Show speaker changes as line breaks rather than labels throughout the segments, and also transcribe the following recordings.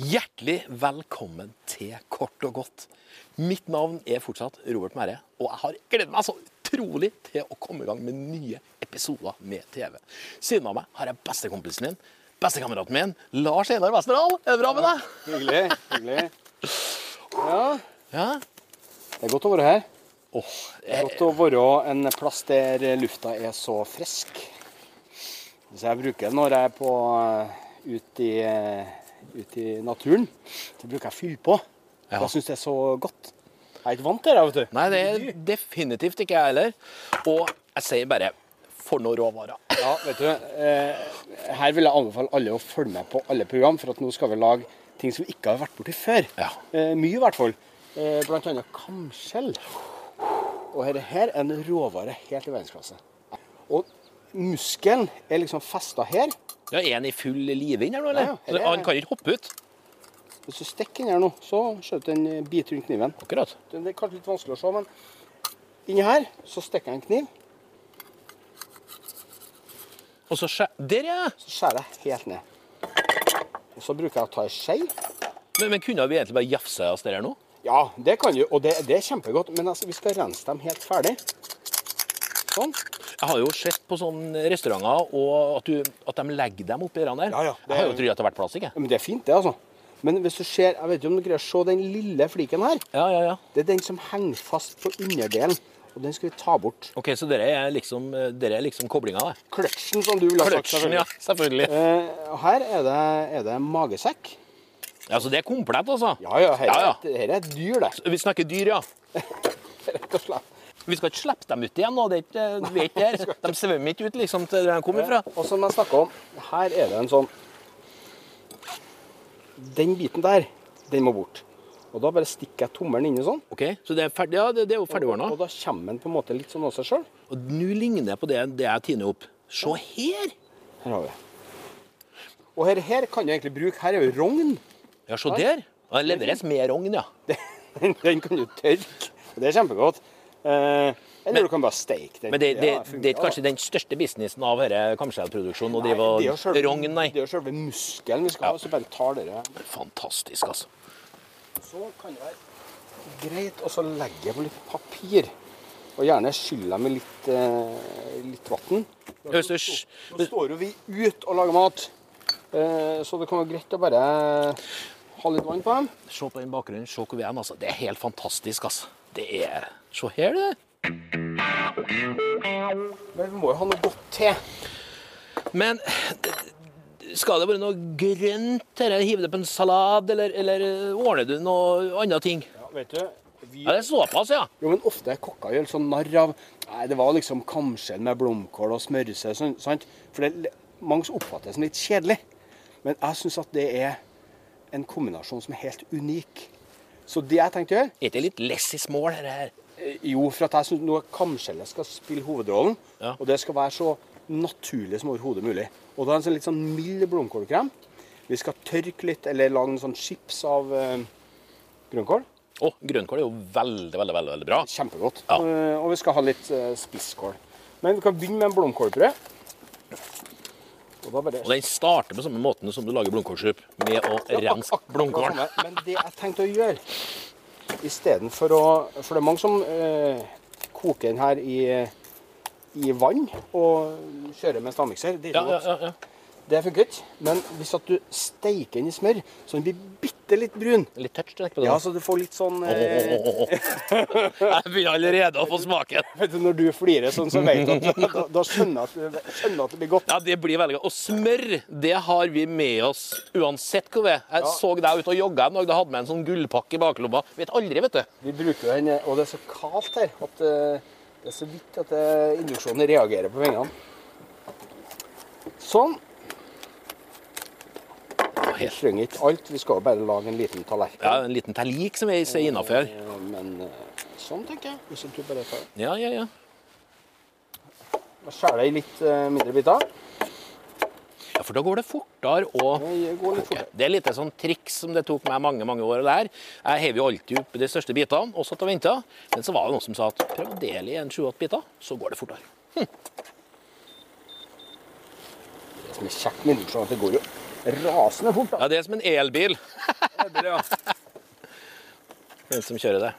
Hjertelig velkommen til Kort og godt. Mitt navn er fortsatt Robert Mære, og jeg har gledet meg så utrolig til å komme i gang med nye episoder med TV. Siden av meg har jeg bestekompisen min, bestekameraten min, Lars Einar Westerdal. Er det bra med deg?
Hyggelig. hyggelig. Ja,
Ja?
det er godt å være her.
Åh,
Det er
jeg,
godt å være en plass der lufta er så frisk. Så jeg bruker den når jeg er på ute i, eh, ut i naturen. Så bruker jeg å fylle på.
Ja.
Jeg syns det er så godt. Jeg er ikke vant til det, vet du.
nei, det er definitivt ikke jeg heller. Og jeg sier bare for noen råvarer.
Ja, vet du, eh, her vil jeg anbefale alle å følge med på alle program, for at nå skal vi lage ting som vi ikke har vært borti før.
Ja.
Eh, mye, i hvert fall. Eh, blant annet kamskjell. Og dette her er en råvare helt i verdensklasse. Og muskelen er liksom festa her.
Ja, er han i full live inn her nå, eller?
Ja, ja, det er-
Han kan ikke hoppe ut.
Hvis du stikker den her nå, så skjøter den eh, bit rundt kniven.
Akkurat.
Det er kanskje litt vanskelig å se, men inni her så stikker jeg en kniv,
Og så skjæ... Der, ja!
så skjærer jeg helt ned. Og så bruker jeg å ta ei skei.
Men, men kunne vi egentlig bare jafse oss der her nå?
Ja, det kan du, og det, det er kjempegodt. Men altså, vi skal rense dem helt ferdig. Sånn.
Jeg har jo sett på sånne restauranter og at, du, at de legger dem oppi der.
Ja, ja, det
Jeg har
er-
jo trodd at det har vært plastikk. jeg.
Ja, Men det er fint, det, altså. Men hvis du ser, jeg vet ikke om du greier å se den lille fliken her.
Ja, ja, ja.
Det er den som henger fast på underdelen, og den skal vi ta bort.
Ok, Så dere er liksom, dere er liksom koblinga, det.
Kløtsjen, som du ville ha sagt.
Kløtsjen, ja. Selvfølgelig.
Eh, og her er det, er det magesekk.
Ja, Så det er komplett, altså.
Ja, ja, her,
Ja, ja.
det her er et dyr, det.
Vi snakker dyr, ja.
Rett og slett.
Vi skal ikke slippe dem ut igjen nå. Det er ikke, eh, vi er ikke der. De svømmer ikke ut liksom til der de kommer fra.
Og som jeg snakka om, her er det en sånn Den biten der, den må bort. Og da bare stikker jeg tommelen inni sånn.
Ok, Så det er ferdig, ja, det, det er jo ferdigordna.
Og da kommer den på en måte litt sånn av seg sjøl.
Og nå ligner det på det, det jeg tiner opp. Se her!
Her har vi det. Og her, her kan du egentlig bruke Her er jo rogn.
Ja, se der. Ja, Det leveres med rogn, ja.
Den, den kan du tørke. Og det er kjempegodt. Eh, eller du kan bare steike den.
Men det, det,
Ja, fungerer,
det er kanskje
da.
den største businessen av denne kamskjellproduksjonen å
Nei,
drive
det er jo
og
selve-
rogn, nei.
Det er jo selve muskelen vi skal ha, så bare tar dere
Fantastisk, altså.
Så kan det være greit å så legge på litt papir. Og gjerne skylle dem med litt, eh, litt vann.
Hvis du sj-
Nå står jo vi ut og lager mat, eh, så det kan være greit å bare ha litt vann på dem.
Se på den bakgrunnen, se hvor vi er. Altså. Det er helt fantastisk, altså. Det er Se her, du.
Men vi må jo ha noe godt til.
Men skal det være noe grønt her? Hive det på en salat, eller, eller ordner du noe annet ting?
Ja, vet du, vi...
Ja, det er såpass, ja.
Jo, men ofte er kokker gjør sånn narr av Nei, det var liksom kamskjell med blomkål og smørse, sånn, sant? For det er li- mange som oppfatter det som litt kjedelig. Men jeg syns at det er en kombinasjon som er helt unik. Så det jeg tenkte å gjøre
Er ikke det litt less is more, dette her?
Eh, Jo, for at jeg syns nå kamskjellet skal spille hovedrollen.
Ja.
Og det skal være så naturlig som overhodet mulig. Og da en sånn litt sånn mild blomkålkrem. Vi skal tørke litt, eller lage en sånn chips av eh, grønnkål.
Å, grønnkål er jo veldig, veldig, veldig, veldig bra.
Kjempegodt.
Ja.
Eh, og vi skal ha litt eh, spisskål. Men vi kan begynne med en blomkålpuré. Og da bare
Og den starter på samme måten som du lager blomkålsuppe, med å
Ja, ak-
rense
akkurat
blomkålen.
samme. Men det jeg tenkte å gjøre istedenfor å For det er mange som eh, koker den her i, i vann og kjører med stavmikser. Det, er
Ja, ja,
ikke godt.
ja, ja.
det funker ikke. Men hvis at du steiker den i smør, så den blir bitte litt brun,
Litt touch trekk på det.
ja, så du får litt sånn eh,
Jeg begynner allerede å få smaken.
Vet du, Når du flirer sånn, så vet du at da, da skjønner jeg at, skjønner jeg at det blir godt.
Ja, det blir veldig godt. Og smør, det har vi med oss uansett hvor vi er. Jeg
Ja.
så deg ute og jogga en dag, da hadde vi en sånn gullpakke i baklomma. Vet aldri, vet du.
Vi bruker jo den, og det er så kaldt her at eh, det er så vidt at eh, induksjonen reagerer på vingene. Sånn. Vi
helt-
trenger ikke alt, vi skal jo bare lage en liten tallerken.
Ja, en liten telik som vi ser innafor.
Eh, Men eh, sånn, tenker jeg. Hvis du bare tar
Ja, ja, ja.
Da skjærer jeg i litt eh, mindre biter.
for da går det fortere å
Det går litt fortere.
koke. Det er litt sånn triks som det tok meg mange mange år å lære. Jeg hev jo alltid opp de største bitene og satt og venta. Men så var det noen som sa at prøv å dele i en sju-åtte biter, så går det fortere.
Det som er kjekt med induksjon, er at det går jo rasende fort. da.
Ja, det er som en elbil, den som kjører det.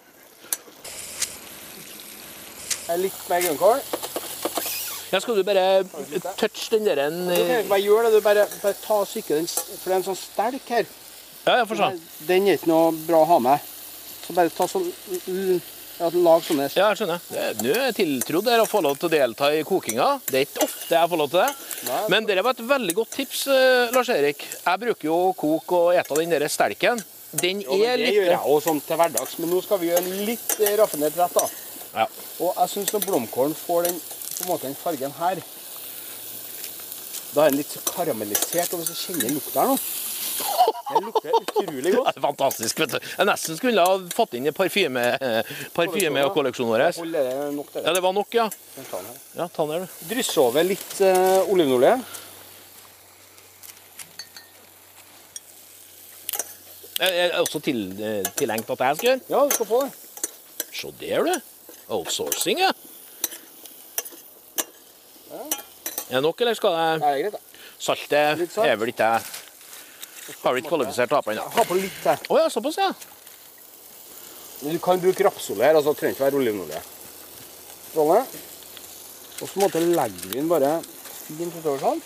Jeg er litt mer grønnkål.
Ja, skal du bare touch den der en
Du kan
eh,
jo ikke bare gjøre det, du bare, bare ta og sykke den, for det er en sånn stelk her.
Ja, ja, for sånn.
Den er ikke noe bra å ha med. Så bare ta sånn, ja, lag sånne
Ja, jeg skjønner. Det- Nå er jeg tiltrodd her å få lov til å delta i kokinga. Det er ikke ofte jeg får lov til det.
Nei. altså.
Men det var et veldig godt tips, eh, Lars Erik. Jeg bruker jo å koke og ete den der stelken. Den
Ja, men
er
Det gjør
litt
jeg også sånn til hverdags, men nå skal vi gjøre en litt eh, raffinert rett. da.
Ja.
Og jeg syns når blomkålen får den, på en måte, den fargen her Da er den litt så karamellisert, og hvis du kjenner lukta her nå Det lukter utrolig
Ja,
godt.
det er fantastisk. vet du. Jeg nesten skulle ha fått inn i parfyme, eh, parfyme og kolleksjonen vår.
Hold det nok til
Ja,
det.
det var nok, ja.
Den tar den her.
Ja, ta den der, du.
Dryss over litt eh, olivenolje.
Jeg jeg er også til, eh, tilengt at jeg skal gjøre.
Ja, du skal få det.
Se der, du. Outsourcing, ja. Er det nok, eller skal jeg
Ja, det er greit, da.
Saltet
Litt salt.
er vel ikke jeg Har vel ikke kvalifisert til å ha på ennå.
Ha på litt til.
Å ja, såpass, ja.
Men Du kan bruke rapsolje her, altså det trenger ikke være olivenolje. Strålende. Og så på en måte legger vi den bare fint utover sånn.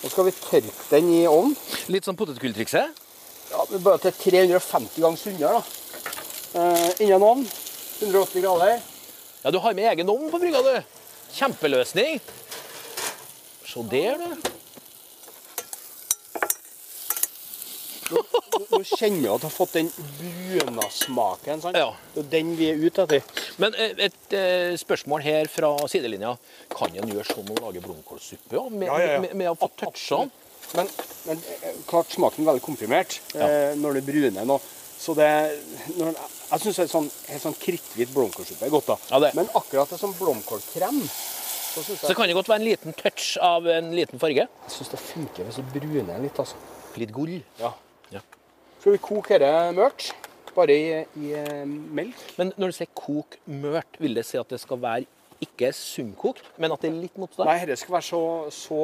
Nå skal vi tørke den i ovnen.
Litt sånn potetgulltrikset.
Ja, vi bare til 350 ganger sunnere, da. Eh, Innen ovn. 180 grader.
Ja, du har med egen ovn på brygga, du. Kjempeløsning. Se der, du.
Nå kjenner jeg at jeg har fått den bruna smaken. sant?
Ja.
Det er den vi er ute etter.
Men eh, et eh, spørsmål her fra sidelinja. Kan en gjøre sånn og lage blomkålsuppe ja, med,
Ja, ja, ja.
med, med å få sånn? toucha den?
Men, men eh, klart smaken er veldig komprimert eh, når det bruner nå. Så det når, den- Jeg syns en sånn, helt sånn kritthvit blomkålsuppe er godt, da.
Ja, det.
Men akkurat det som blomkålkrem så synes
Så
jeg,
kan det godt være en liten touch av en liten farge.
jeg synes det funker hvis du bruner den litt, altså.
Litt gull.
Ja.
Ja.
Skal vi koke dette mørkt? Bare i, i eh, melk?
Men når du sier kok mørt, vil det si at det skal være ikke sunnkokt, men at det er litt motstand?
Nei, dette skal være så, så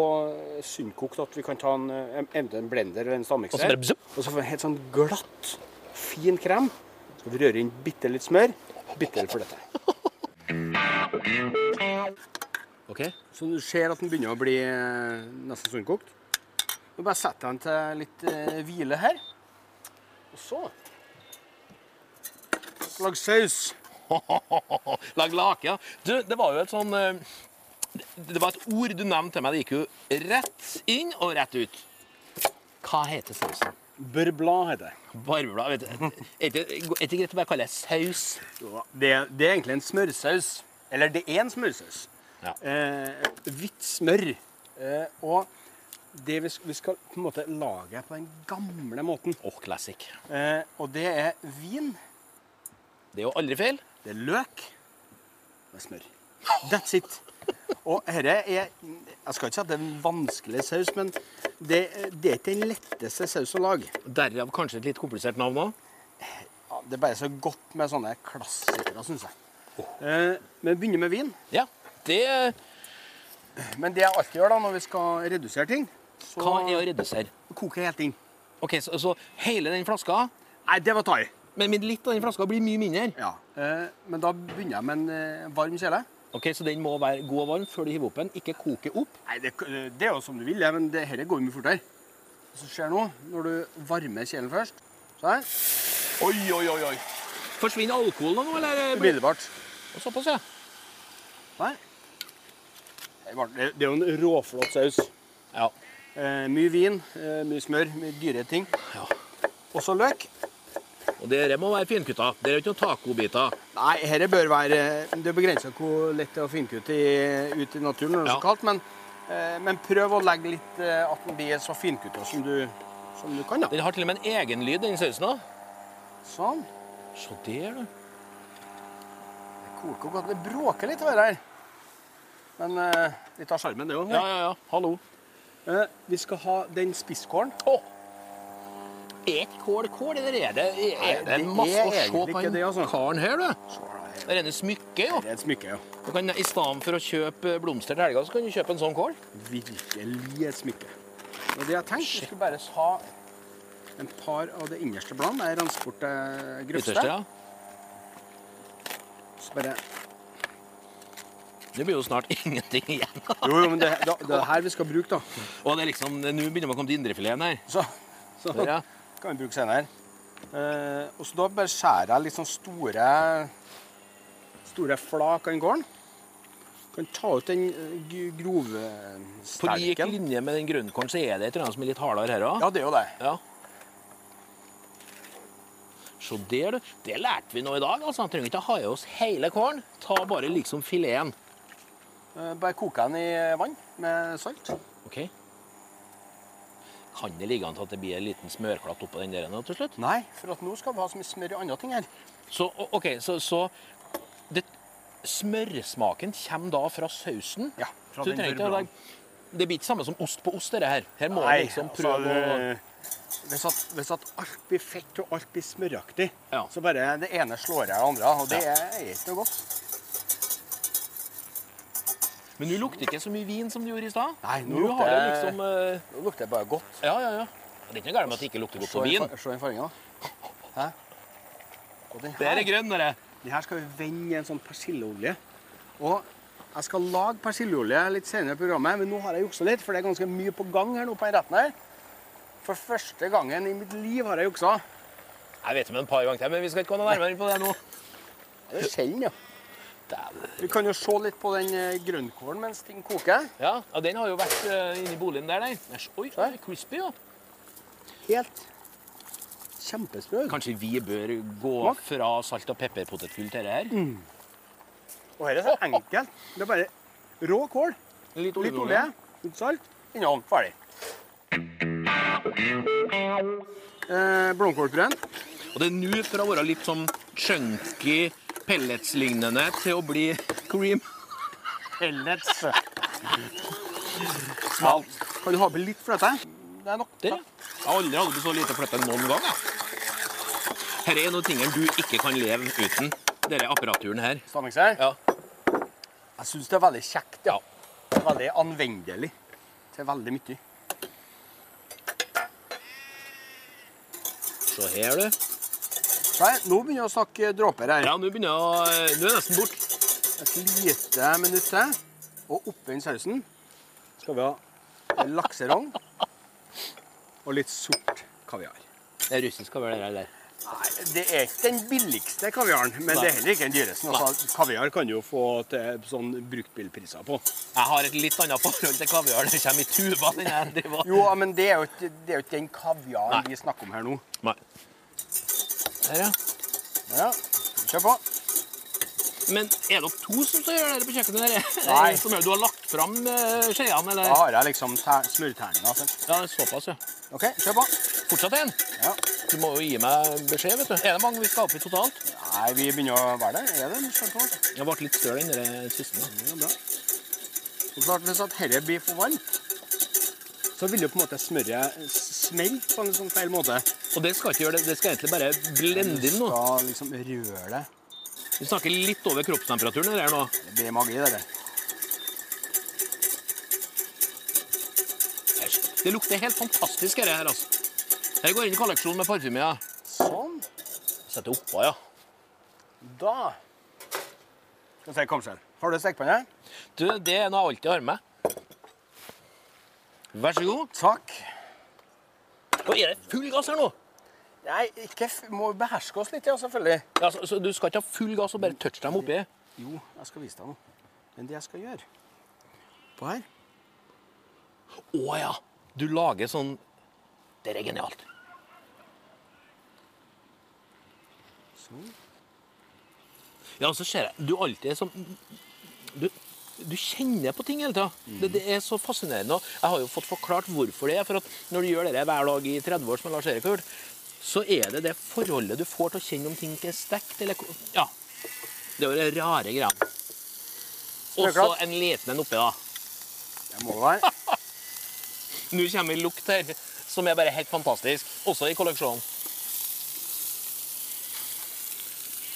sunnkokt at vi kan ta en, eh, em- eventuelt en blender eller en
Og så
stavmikser.
bare bzup.
Og så får vi en helt sånn glatt, fin krem. Så skal vi røre inn bitte litt smør. Bitte litt for dette.
Ok.
Så du ser at den begynner å bli eh, nesten sunnkokt. Nå bare setter jeg den til litt eh, hvile her. Og så Lag saus.
Lag lake, ja. Du, det var jo et sånn eh, Det det var et ord du nevnte til meg. Det gikk jo rett inn og rett ut. Hva heter sausen?
Børblad heter det.
Barbeblad? Vet du. Er det ikke er det ikke greit å bare kalle det saus?
Jo da, Det, det er egentlig en smørsaus. Eller det er en smørsaus.
Ja.
Eh, hvitt smør. Eh, og det vi, sk- vi skal på en måte lage på den gamle måten.
Åh, classic.
Eh, og det er vin,
Det er jo aldri feil.
det er løk, det er smør. That's it. Og dette er Jeg skal ikke si at det er en vanskelig saus, men det, det er ikke den letteste saus å lage.
Derav kanskje et litt komplisert navn òg.
Ja, det er bare så godt med sånne klassikere, syns jeg. Eh, men begynner med vin.
Ja. Det eh,
Men det jeg alltid gjør da når vi skal redusere ting, så
Hva er å redusere?
koker jeg helt inn.
OK, så, så hele den flaska
Nei, det var thai.
Men men litt av den flaska blir mye mindre.
Ja. Eh, men da begynner jeg med en eh, varm kjele.
Ok, Så den må være god og varm før du hiver opp den. Ikke koke opp.
Nei, det, det er jo som du vil, ja, men det dette går jo mye fortere. Det som skjer nå, når du varmer kjelen først Sånn. Oi, oi, oi, oi.
Forsvinner alkoholen nå, eller? blir-
Umiddelbart.
Såpass, ja.
Nei. Det var- det- det er jo en råflott saus.
ja.
Eh, mye vin, eh, mye smør, mye dyre ting.
Ja.
Og så løk.
Og dere må være finkutta. Dere er jo ikke noen tacobiter.
Nei, dette bør være Det er begrensa hvor lett det er å finkutte i, ut i naturen når det er
Ja.
så kaldt, men, eh, men prøv å legge litt eh, at den blir så finkutta som, du- som du kan. da.
Den har til og med en egen lyd, den sausen òg.
Sånn.
Se der, du.
Det koker godt. Det bråker litt over her. Men eh, litt av sjarmen, det òg.
Ja, ja, ja. Hallo.
Eh, vi skal ha den spisskålen.
Å! Er ikke kål kål, eller er det, er
det
det masse
er
å se på
egentlig ikke
den
det, altså.
karen her, du? Det er rene smykke, jo.
Det er et smykke, ja.
Du kan, I stedet for å kjøpe eh, blomster til helga, så kan du kjøpe en sånn kål.
Virkelig et smykke. Og det jeg tenkte, vi skulle bare ha en par av det innerste bladene. Jeg renser bort det grøfste.
Ytterste, ja.
Så bare
Det blir jo snart ingenting igjen.
Jo, jo, men det, da, det er her vi skal bruke, da.
Og det er liksom, Nå begynner man å komme til indrefileten her.
Så, så
Der, ja.
kan vi bruke senere. Eh, og så da bare skjærer jeg litt sånn store store flak av den gården. Kan ta ut den eh, g- grove
På lik
stelken.
linje med den grønnkålen så er det et eller annet som er litt hardere her òg.
Ja, det er jo det.
Ja. Se der, du. Det lærte vi nå i dag. altså. Han trenger ikke ha i oss hele kålen. Ta bare liksom fileten.
Eh, Bare koker den i vann med salt.
Ok? Kan det ligge an til at det blir en liten smørklatt oppå den der nå til slutt?
Nei, for at nå skal vi ha så mye smør i andre ting her.
Så o- OK, så, så det, Smørsmaken kommer da fra sausen?
Ja, fra
så du
den
trenger ikke å
burbraen.
legge Det blir ikke samme som ost på ost, dette her. Her må du liksom
altså,
prøve å
eh, hvis, at, hvis at alt blir fett og alt blir smøraktig,
Ja.
så bare det ene slår jeg det andre, og det
Ja.
er ikke noe godt.
Men nå lukter det ikke så mye vin som det gjorde i stad.
Nei, nå
Nå har det
lukter-
liksom eh,
Nå lukter det bare godt.
Ja, ja, ja. Det er ikke noe galt med at det ikke lukter godt
Se
på
den
vin.
far- Se den fargen, da. Hæ? Og den
Det
her,
er grønn, dere.
den her skal vi vende i en sånn persilleolje. Og jeg skal lage persilleolje litt senere i programmet, men nå har jeg juksa litt, for det er ganske mye på gang her nå på den retten her. For første gangen i mitt liv har jeg juksa.
Jeg vet om en par ganger til, men vi skal ikke gå noe nærmere inn på det nå.
Det er sjelden, ja.
Dæven.
Vi kan jo se litt på den eh, grønnkålen mens ting koker.
Ja, ja, den har jo vært eh, inni boligen der, den. Æsj, Oi,
Der.
oi, crispy, ja.
Helt kjempesprø.
Kanskje vi bør gå
Smak.
fra salt- og pepperpotetgull til det her?
Og her er så enkelt. Det er bare rå kål,
Litt
litt olje, litt salt, innom. Ferdig. Eh, Blomkålpureen.
Og det er nå fra å være litt sånn chunky, pelletslignende, til å bli cream.
Pellets. Smalt. Kan du ha på litt fløte? Det er nok.
Der, ja. Jeg har aldri hatt så lite fløte noen gang. Jeg. Her er noen ting du ikke kan leve uten. Denne apparaturen her.
Stavmikseren.
Ja.
Jeg syns det er veldig kjekt. Ja. Veldig anvendelig til veldig mye.
Se her, du.
Nei, nå begynner jeg å snakke dråper her.
Ja, nå begynner jeg å Nå er jeg nesten borte.
Et lite minutt til. Og oppi den sausen skal vi ha lakserogn og litt sort kaviar.
Det er russisk kaviar, det der.
Nei, Det er ikke den billigste kaviaren, men det er heller ikke den dyreste. Altså, kaviar kan du jo få til sånn bruktbilpriser på.
Jeg har et litt annet forhold til kaviar. Det kommer i tuba. den jeg driver.
Jo, men det er jo ikke, det er jo ikke den kaviaren
Nei.
vi snakker om her nå.
Nei. Her, ja.
Ja, kjør på.
Men er dere to som skal gjøre det på kjøkkenet? Der?
Nei.
Som er det du har lagt fram eh, skjeene, eller?
Da har jeg liksom ter- smørterninga. altså.
Ja, det er såpass, ja.
OK, kjør på.
Fortsatt en.
Ja.
Du må jo gi meg beskjed, vet du. Er det mange vi skal opp i totalt?
Nei, vi begynner å være der. Er det en kjørt på?
Jeg ble litt støl den der siste. nå.
Det er bra. Og klart Hvis at dette blir for varmt, så vil jo på en måte smøret smelte på en sånn feil måte.
Og det skal ikke gjøre det. Det skal egentlig bare blende inn nå.
skal liksom røre det.
Vi snakker litt over kroppstemperaturen det her nå.
Det blir magi, det der.
Æsj. Det lukter helt fantastisk, dette her, altså. Her går inn i kolleksjonen med parfyme, ja.
Sånn.
Setter oppå, ja.
Da skal vi se, kom selv. Har du stekepanne?
Du, det er noe jeg alltid har med. Vær så god.
Takk.
Nå er det full gass her nå.
Nei, ikke f må beherske oss litt, ja, selvfølgelig.
Ja, så, så du skal ikke ha full gass og bare touche dem oppi?
Jo, jeg skal vise deg noe. Men det jeg skal gjøre på her
Å ja. Du lager sånn Det er genialt.
Sånn.
Ja, så ser jeg. Du alltid er sånn du, du kjenner på ting hele tida. Det, det er så fascinerende. og Jeg har jo fått forklart hvorfor det er. For at når du gjør dette hver dag i 30 år, som Lars Erik har gjort, så er det det forholdet du får til å kjenne om ting er stekt eller ko- Ja. Det er jo det rare greiene. Og så
Smørklatt.
en liten en oppi, da.
Det må det være.
Nå kommer en lukt her som er bare helt fantastisk, også i kolleksjonen.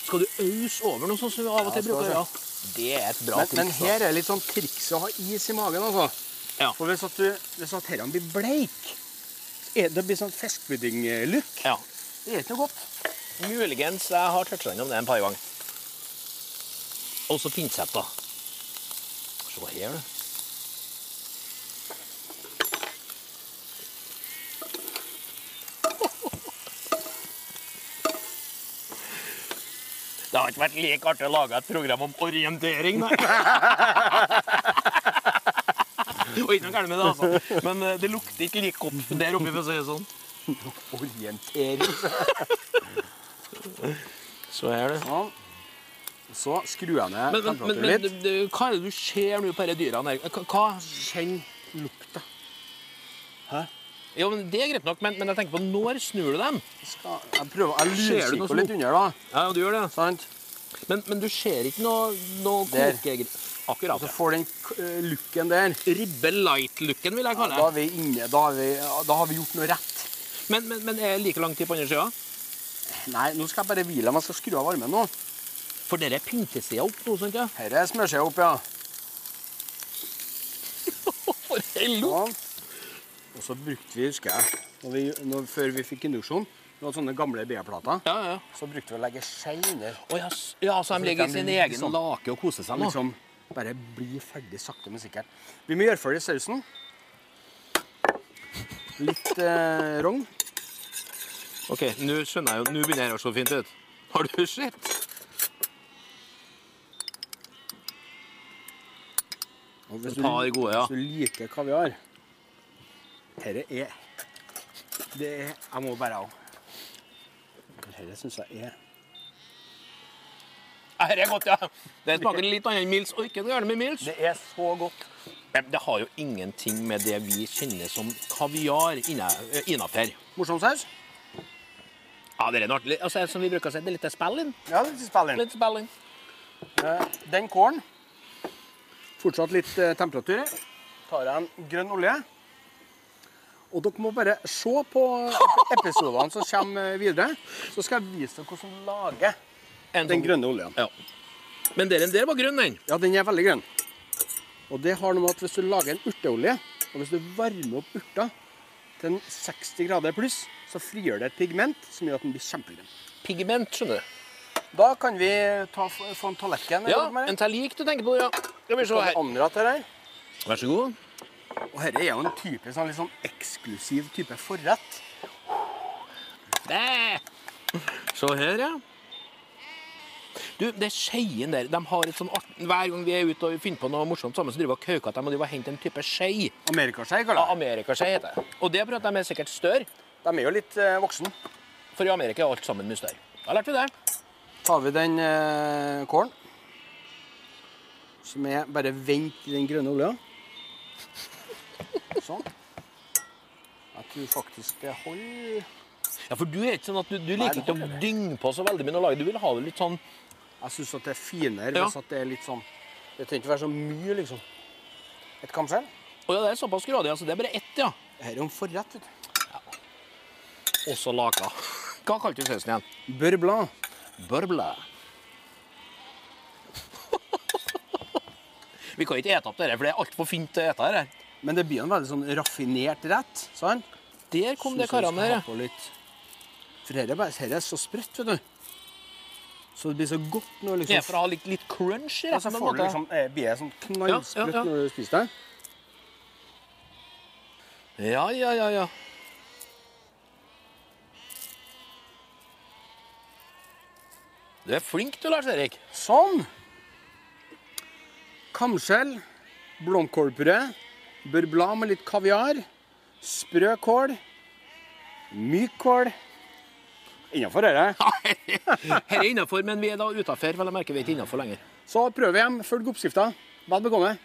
Skal du ause over noe sånn som du av og til
Ja,
bruker
skal
å
jeg
gjøre? Det er et bra
Men, men
triks, da.
her er litt sånn triks å ha is i magen, altså.
Ja.
For hvis at, du, hvis at herren blir bleik, så er det blir sånn fiskepudding-look.
ja.
Det er ikke noe godt.
Muligens jeg har toucha innom det en par ganger. Også pinsetter. Se her, du. Det har ikke vært like artig å lage et program om orientering, nei. Og ikke noe gærent med det, altså. Men eh, det lukter ikke like godt der oppe, for å si det sånn.
Orientering.
Så er det.
Ja. Sånn. Så skrur jeg ned
Men, men, men,
temperaturen litt.
men du, du, hva er det du ser nå på disse dyrene? her? Hva- Hva?
Kjenn lukta.
Jo, men Det er greit nok, men, men jeg tenker på når snur du dem?
Jeg skal- Jeg prøver, jeg
Ser du noe
lurkikker litt
smukt?
under, da.
Ja, du gjør det.
Sant?
Men, men du ser ikke noe, noe
Der.
kokegreier? Akkurat.
Så
ja.
får den eh, looken der.
Altså, Ribbe light-looken, vil jeg
Da
kalle
er
det.
vi inne. Da, er vi, ja, da har vi gjort noe rett.
Men, men, men er det like lang tid på andre sida?
Nei, nå skal jeg bare hvile. Jeg skal skru av varmen nå.
For dere er pyntesida opp nå, sant? ja?
Her er smørsida opp, ja.
For en lukt!
Ja. Sånn. Og så brukte vi, husker jeg, når vi, når, før vi fikk induksjon, vi hadde sånne gamle B-plater,
Ja, ja.
så brukte vi å legge skje under.
Å, ja, s- ja, så
Så
de ligger i
de
sin
ligger
egen
sånn.
lake og koser seg
Og
nå?
liksom bare bli ferdig sakte, men sikkert. Vi må gjøre ferdig sausen. Litt eh, rogn.
OK, nå skjønner jeg jo. Nå begynner det å se fint ut. Har du sett?
Og hvis
Et par gode, ja.
Hvis du liker kaviar Dette er Det er Jeg må bare av. Dette syns jeg er
Dette er godt, ja. Det smaker litt annet enn Mils. Og ikke så gjerne med Mils.
Det er så godt.
Det, det har jo ingenting med det vi kjenner som kaviar eh, innafor.
Morsom saus?
Ja, det er noe artig. Altså, som vi bruker å si, det er litt spill inn.
Ja, litt spill inn.
Litt spill inn.
Eh, Den kålen Fortsatt litt eh, temperatur. i. Tar jeg en grønn olje. Og dere må bare se på ep- episodene som kommer eh, videre. Så skal jeg vise dere hvordan du lager
En
den
sånn-
grønne oljen.
Ja. Men den der var grønn, den.
Ja, den er veldig grønn. Og det har noe med at hvis du lager en urteolje, og hvis du varmer opp urta til en 60 grader pluss, så frigjør det et pigment som gjør at den blir kjempegrønn.
Pigment, skjønner du.
Da kan vi ta, få en tallerken.
Ja, en terlik du tenker på, ja. Skal vi se her.
Anrett her.
Vær så god.
Og dette er jo en type, sånn, litt sånn eksklusiv type forrett.
Bæ! Se her, ja. Du, det er skeien der. De har et sånn art... Hver gang vi er ute og finner på noe morsomt sammen, så driver vi og kauker at de må drive og hente en type skei.
Amerikaskjei,
Ja,
kaller jeg
Amerikaskei heter det. Og det er fordi at de er sikkert større.
det. De er jo litt eh, voksne.
For i Amerika er alt sammen mye større. Da lærte vi det.
Tar vi den eh, kålen, som er bare vent i den grønne olja. Sånn. Jeg tror faktisk det holder.
Ja, for du er ikke sånn at du, du
Nei,
liker
det
ikke å
holder, det.
dynge på så veldig med noe lag. Du vil ha det litt sånn
Jeg syns at det er finere
Ja.
hvis at det er litt sånn Det trenger ikke være så mye, liksom. Et kamskjell.
Å ja, det er såpass grådig, altså. Det er bare ett, ja.
Her er en forrett. vet du.
Og så laka. Hva kalte du sausen igjen?
Bør blad.
Børbla. Vi kan ikke ete opp dette, for det er altfor fint til å ete her.
Men det blir en veldig sånn raffinert rett. sant?
Der kom det
Synes jeg vi
karene
skal
der,
ha på litt. For her er, bare, her er så sprøtt, vet du. Så det blir så godt
ja.
når
Det er
liksom
for å ha litt, litt crunch i
Ja, så
retten. på en
får du
måte.
liksom, eh, blir det sånn knallsprøtt
Ja, ja, ja.
når du spiser det.
Ja, ja, ja, ja. Du er flink du, Lars Erik.
Sånn. Kamskjell, blomkålpuré, burbla med litt kaviar, sprø kål, myk kål. Innafor dette.
Her er innafor, men vi er da utafor. Vel å merke, vi er ikke innafor lenger.
Så prøv hjem. Følg oppskrifta. Vel bekomme.